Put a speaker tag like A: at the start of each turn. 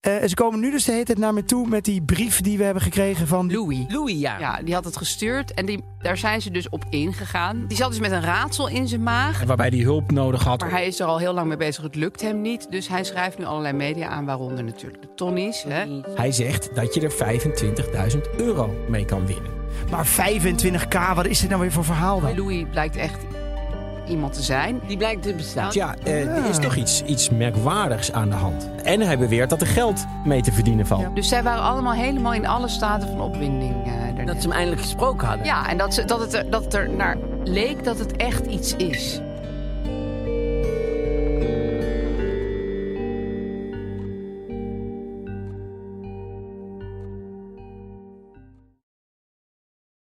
A: Eh, ze komen nu dus de hele tijd naar me toe met die brief die we hebben gekregen van...
B: Louis.
C: Louis, ja.
B: Ja, die had het gestuurd en die, daar zijn ze dus op ingegaan. Die zat dus met een raadsel in zijn maag.
C: En Waarbij hij hulp nodig had.
B: Maar hij is er al heel lang mee bezig. Het lukt hem niet. Dus hij schrijft nu allerlei media aan, waaronder natuurlijk de Tonnies. Hè?
C: Hij zegt dat je er 25.000 euro mee kan winnen.
A: Maar 25k, wat is dit nou weer voor verhaal dan?
B: Louis blijkt echt iemand te zijn.
D: Die blijkt te bestaan.
C: Tja, eh, er
A: Ah.
C: is toch iets, iets merkwaardigs aan de hand. En hij beweert dat er geld mee te verdienen valt.
B: Dus zij waren allemaal helemaal in alle staten van opwinding. eh, daarnet.
D: Dat ze hem eindelijk gesproken hadden.
B: Ja, en dat, ze, dat, het er, dat het er naar leek dat het echt iets is.